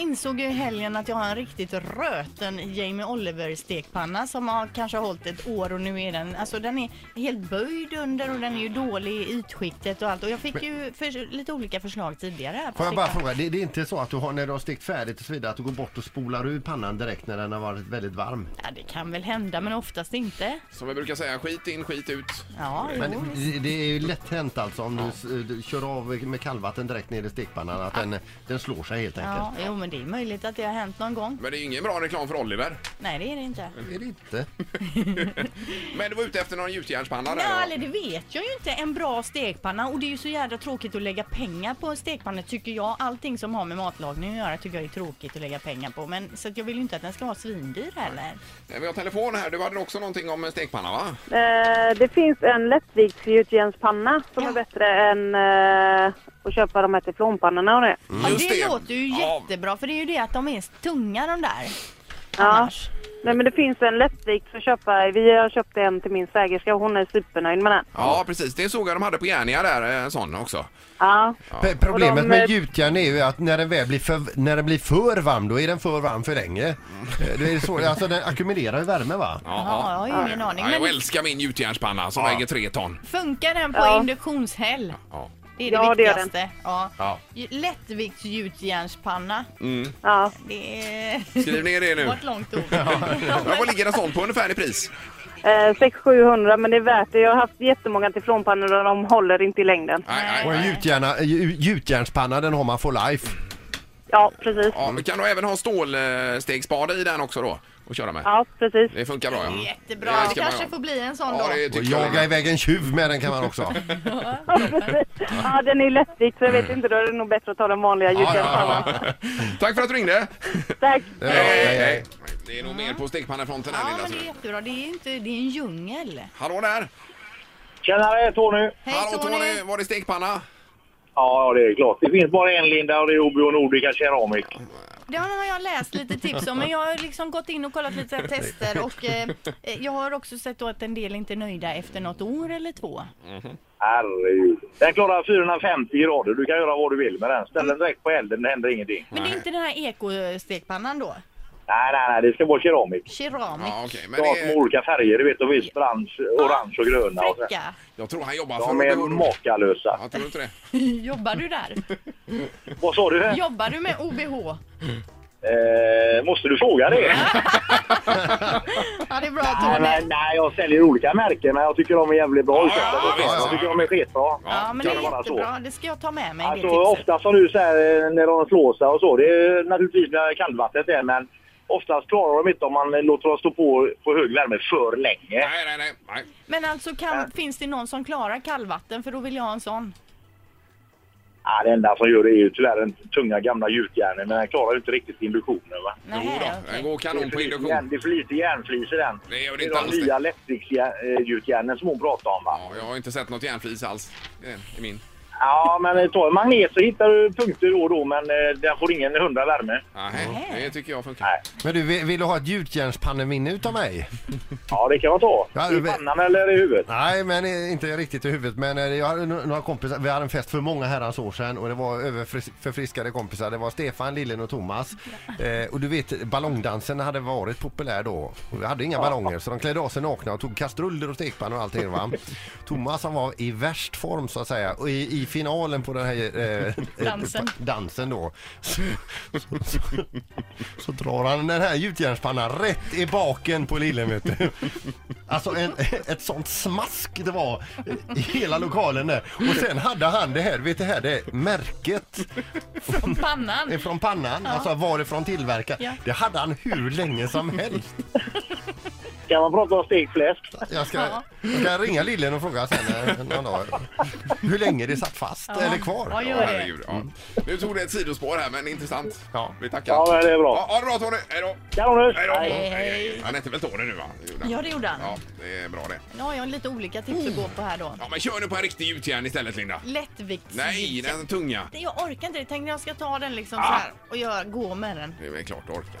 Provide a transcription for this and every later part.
insåg ju i helgen att jag har en riktigt röten Jamie Oliver stekpanna som har kanske hållit ett år och nu är den, alltså den är helt böjd under och den är ju dålig i ytskiktet och allt och jag fick ju för, lite olika förslag tidigare. här på Får jag bara stekpannan. fråga, det, det är inte så att du har, när du har stekt färdigt och så vidare, att du går bort och spolar ur pannan direkt när den har varit väldigt varm? Ja, det kan väl hända men oftast inte. Som vi brukar säga, skit in, skit ut. Ja, Men jo, visst. det- det är ju lätt hänt alltså om du, s- du kör av med kallvatten direkt ner i stekpannan att den, den slår sig helt ja, enkelt. jo men det är möjligt att det har hänt någon gång. Men det är ju ingen bra reklam för Oliver. Nej det är det inte. Är det inte? Men du var ute efter någon gjutjärnspanna Nej, där eller det vet jag ju inte. En bra stekpanna. Och det är ju så jävla tråkigt att lägga pengar på en stekpanna tycker jag. Allting som har med matlagning att göra tycker jag är tråkigt att lägga pengar på. Men så att jag vill ju inte att den ska vara svindyr heller. då. Vi har telefon här. Du hade också någonting om en stekpanna va? Eh, det finns en lättviktsgjutjärnspanna som Ja. är bättre än eh, att köpa de här teflonpannorna och det. Ja, Just det, det. låter ju Ja. jättebra för det är ju det att de är tunga de där. Ja. Annars. Nej men det finns en lättvikt att köpa. Vi har köpt en till min svägerska och hon är supernöjd med den. Ja, precis. Det såg jag de hade på Järnia där, eh, en sån också. Ja. P- Problemet Och de- eh, med gjutjärn är ju att när den väl blir för, när den blir för varm då är den för varm för länge. Eh, Det är så, alltså den ackumulerar ju värme va? Ja, Ja, jag har ju ingen aning. Ja, jag Men älskar min gjutjärnspanna som väger tre ton. funkar den på Ja. induktionshäll? Ja. Det är det Ja, det gör den. viktigaste. ja. Ja. Lättviktsgjutjärnspanna. ja. Det är... Skriv ner det Det nu. var ett långt ord. Ja, Men vad ligger en sån på ungefär i pris? Eh, 600-700 men det är värt det. Jag har haft jättemånga teflonpannor och de håller inte i längden. Nej, Och nej. en gjutjärna, gju- gjutjärnspanna den har man for life. Ja precis. Ja, men kan du även ha stålstegsspade i den också då? Och köra med? Ja precis. Det funkar bra ja. Jättebra. Det Det ska man kanske göra. får bli en sån Ja, då. det Och tycker jag. jaga iväg en tjuv med den kan man också. Ja, precis. ja den är ju lättvikt så jag vet inte. Då är det nog bättre att ta den vanliga gjutjärnspannan. Tack för att du ringde. Tack. Eh, hej, hej. Det är nog mer på stekpannefronten här Ja, lilla men det är snubben. jättebra. Det är ju inte, det är en djungel. Hallå där! Tjenare, Tony! Hej Hallå Tony! Var det stekpanna? Ja, det är klart. Det finns bara en Linda och det är Obio Nordica Ceramic. Det har jag läst lite tips om, men jag har liksom gått in och kollat lite så här tester och eh, jag har också sett då att en del inte är nöjda efter något år eller två. Herregud. Den klarar 450 grader. Du kan göra vad du vill med den. Ställ den direkt på elden, det händer ingenting. Men det är inte den här ekostekpannan då? Nej, nej, nej. Det ska vara keramik. Keramik? Ja, okej. Men Klart med det, olika färger. Du vet, de finns orange, orange och gröna. Och så. Fräcka! jag tror han jobbar för... De är makalösa. Ja, tror du inte det? Jobbar du där? Vad sa du? Jobbar du med OBH? Eh, måste du fråga det? Ja, det är bra Nej, Tony. nej, nej, jag säljer olika märken, men jag tycker de är jävligt bra. Ja, ja, ja, jag visst. tycker de är skitbra. Ja, men det kan är det vara så? jättebra. Det ska jag ta med mig, det Alltså tipset. ofta som du säger eh, när de slår sig och så, det är naturligtvis när kallvattnet är men oftast klarar de inte om man låter dem stå på, på hög värme för länge. Nej, nej, nej. nej. Men alltså, kan, finns det någon som klarar kallvatten? För då vill jag ha en sån. Ja, det enda som gör det är ju tyvärr den tunga gamla gjutjärnen men den klarar ju inte riktigt induktionen va. Nej, Jo då, okej. den går Det är kanon för på lite järn- induktion. det är för lite järnflis i den. Det gör det det inte är alls de det. nya lättviktsgjutjärnen som hon pratar om va. Ja, jag har inte sett något järnflis alls eh, i min. Ja men eh, ta en magnet så hittar du punkter då och då men eh, den får ingen hundra värme. Nej, Nej. det tycker jag funkar. Nej. Men du, vill vill du ha ett gjutjärnspanneminne utav mig? Ja det kan man ta. Ja, I det- pannan eller i huvudet. Nej, men eh, inte riktigt i huvudet. Men eh, jag hade no- några kompisar, vi hade en fest för många herrans år sedan och det var överförfriskade kompisar. Det var Stefan, Lillen och Thomas. Eh, och du vet, ballongdansen hade varit populär då. Och vi hade inga ballonger så de klädde av sig nakna och tog kastruller och stekpannor och allting va. Thomas han var i värst form så att säga och i, i finalen på den här eh, Dansen. eh, dansen då. Så, så, så, så drar han den här gjutjärnspannan rätt i baken på Lillen vet du. Alltså en, ett sånt smask det var i hela lokalen där. Och sen hade han det här, vet du här, det är märket Från pannan? från pannan, alltså varifrån tillverkar. Ja. Det hade han hur länge som helst. Kan man prata om stekfläsk? Jag ska, Ja. jag ska ringa Lillen och fråga sen eh, någon dag hur länge det satt fast Ja. eller Ja, kvar. gör Ja, det. herregud. Ja. Nu tog det ett sidospår här, men intressant. Ja. Vi tackar. Ja, men det är bra. Ja, ha det bra Tony. Hej då. Kanon! Hej då. Hej, hej. Han hette väl Tony nu, va? Det gjorde han. Ja, det gjorde han. Ja, det är bra det. Nu har jag lite olika tips att gå på här då. Ja, men kör nu på en riktig gjutjärn istället, Linda. Lättvikts... Nej, den tunga. Jag orkar inte det. Tänkte jag ska ta den liksom så här och göra, gå med den Det är väl klart du orkar.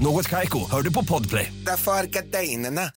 Något Kaiko, hör du på podplay. Därför arkadeinerna.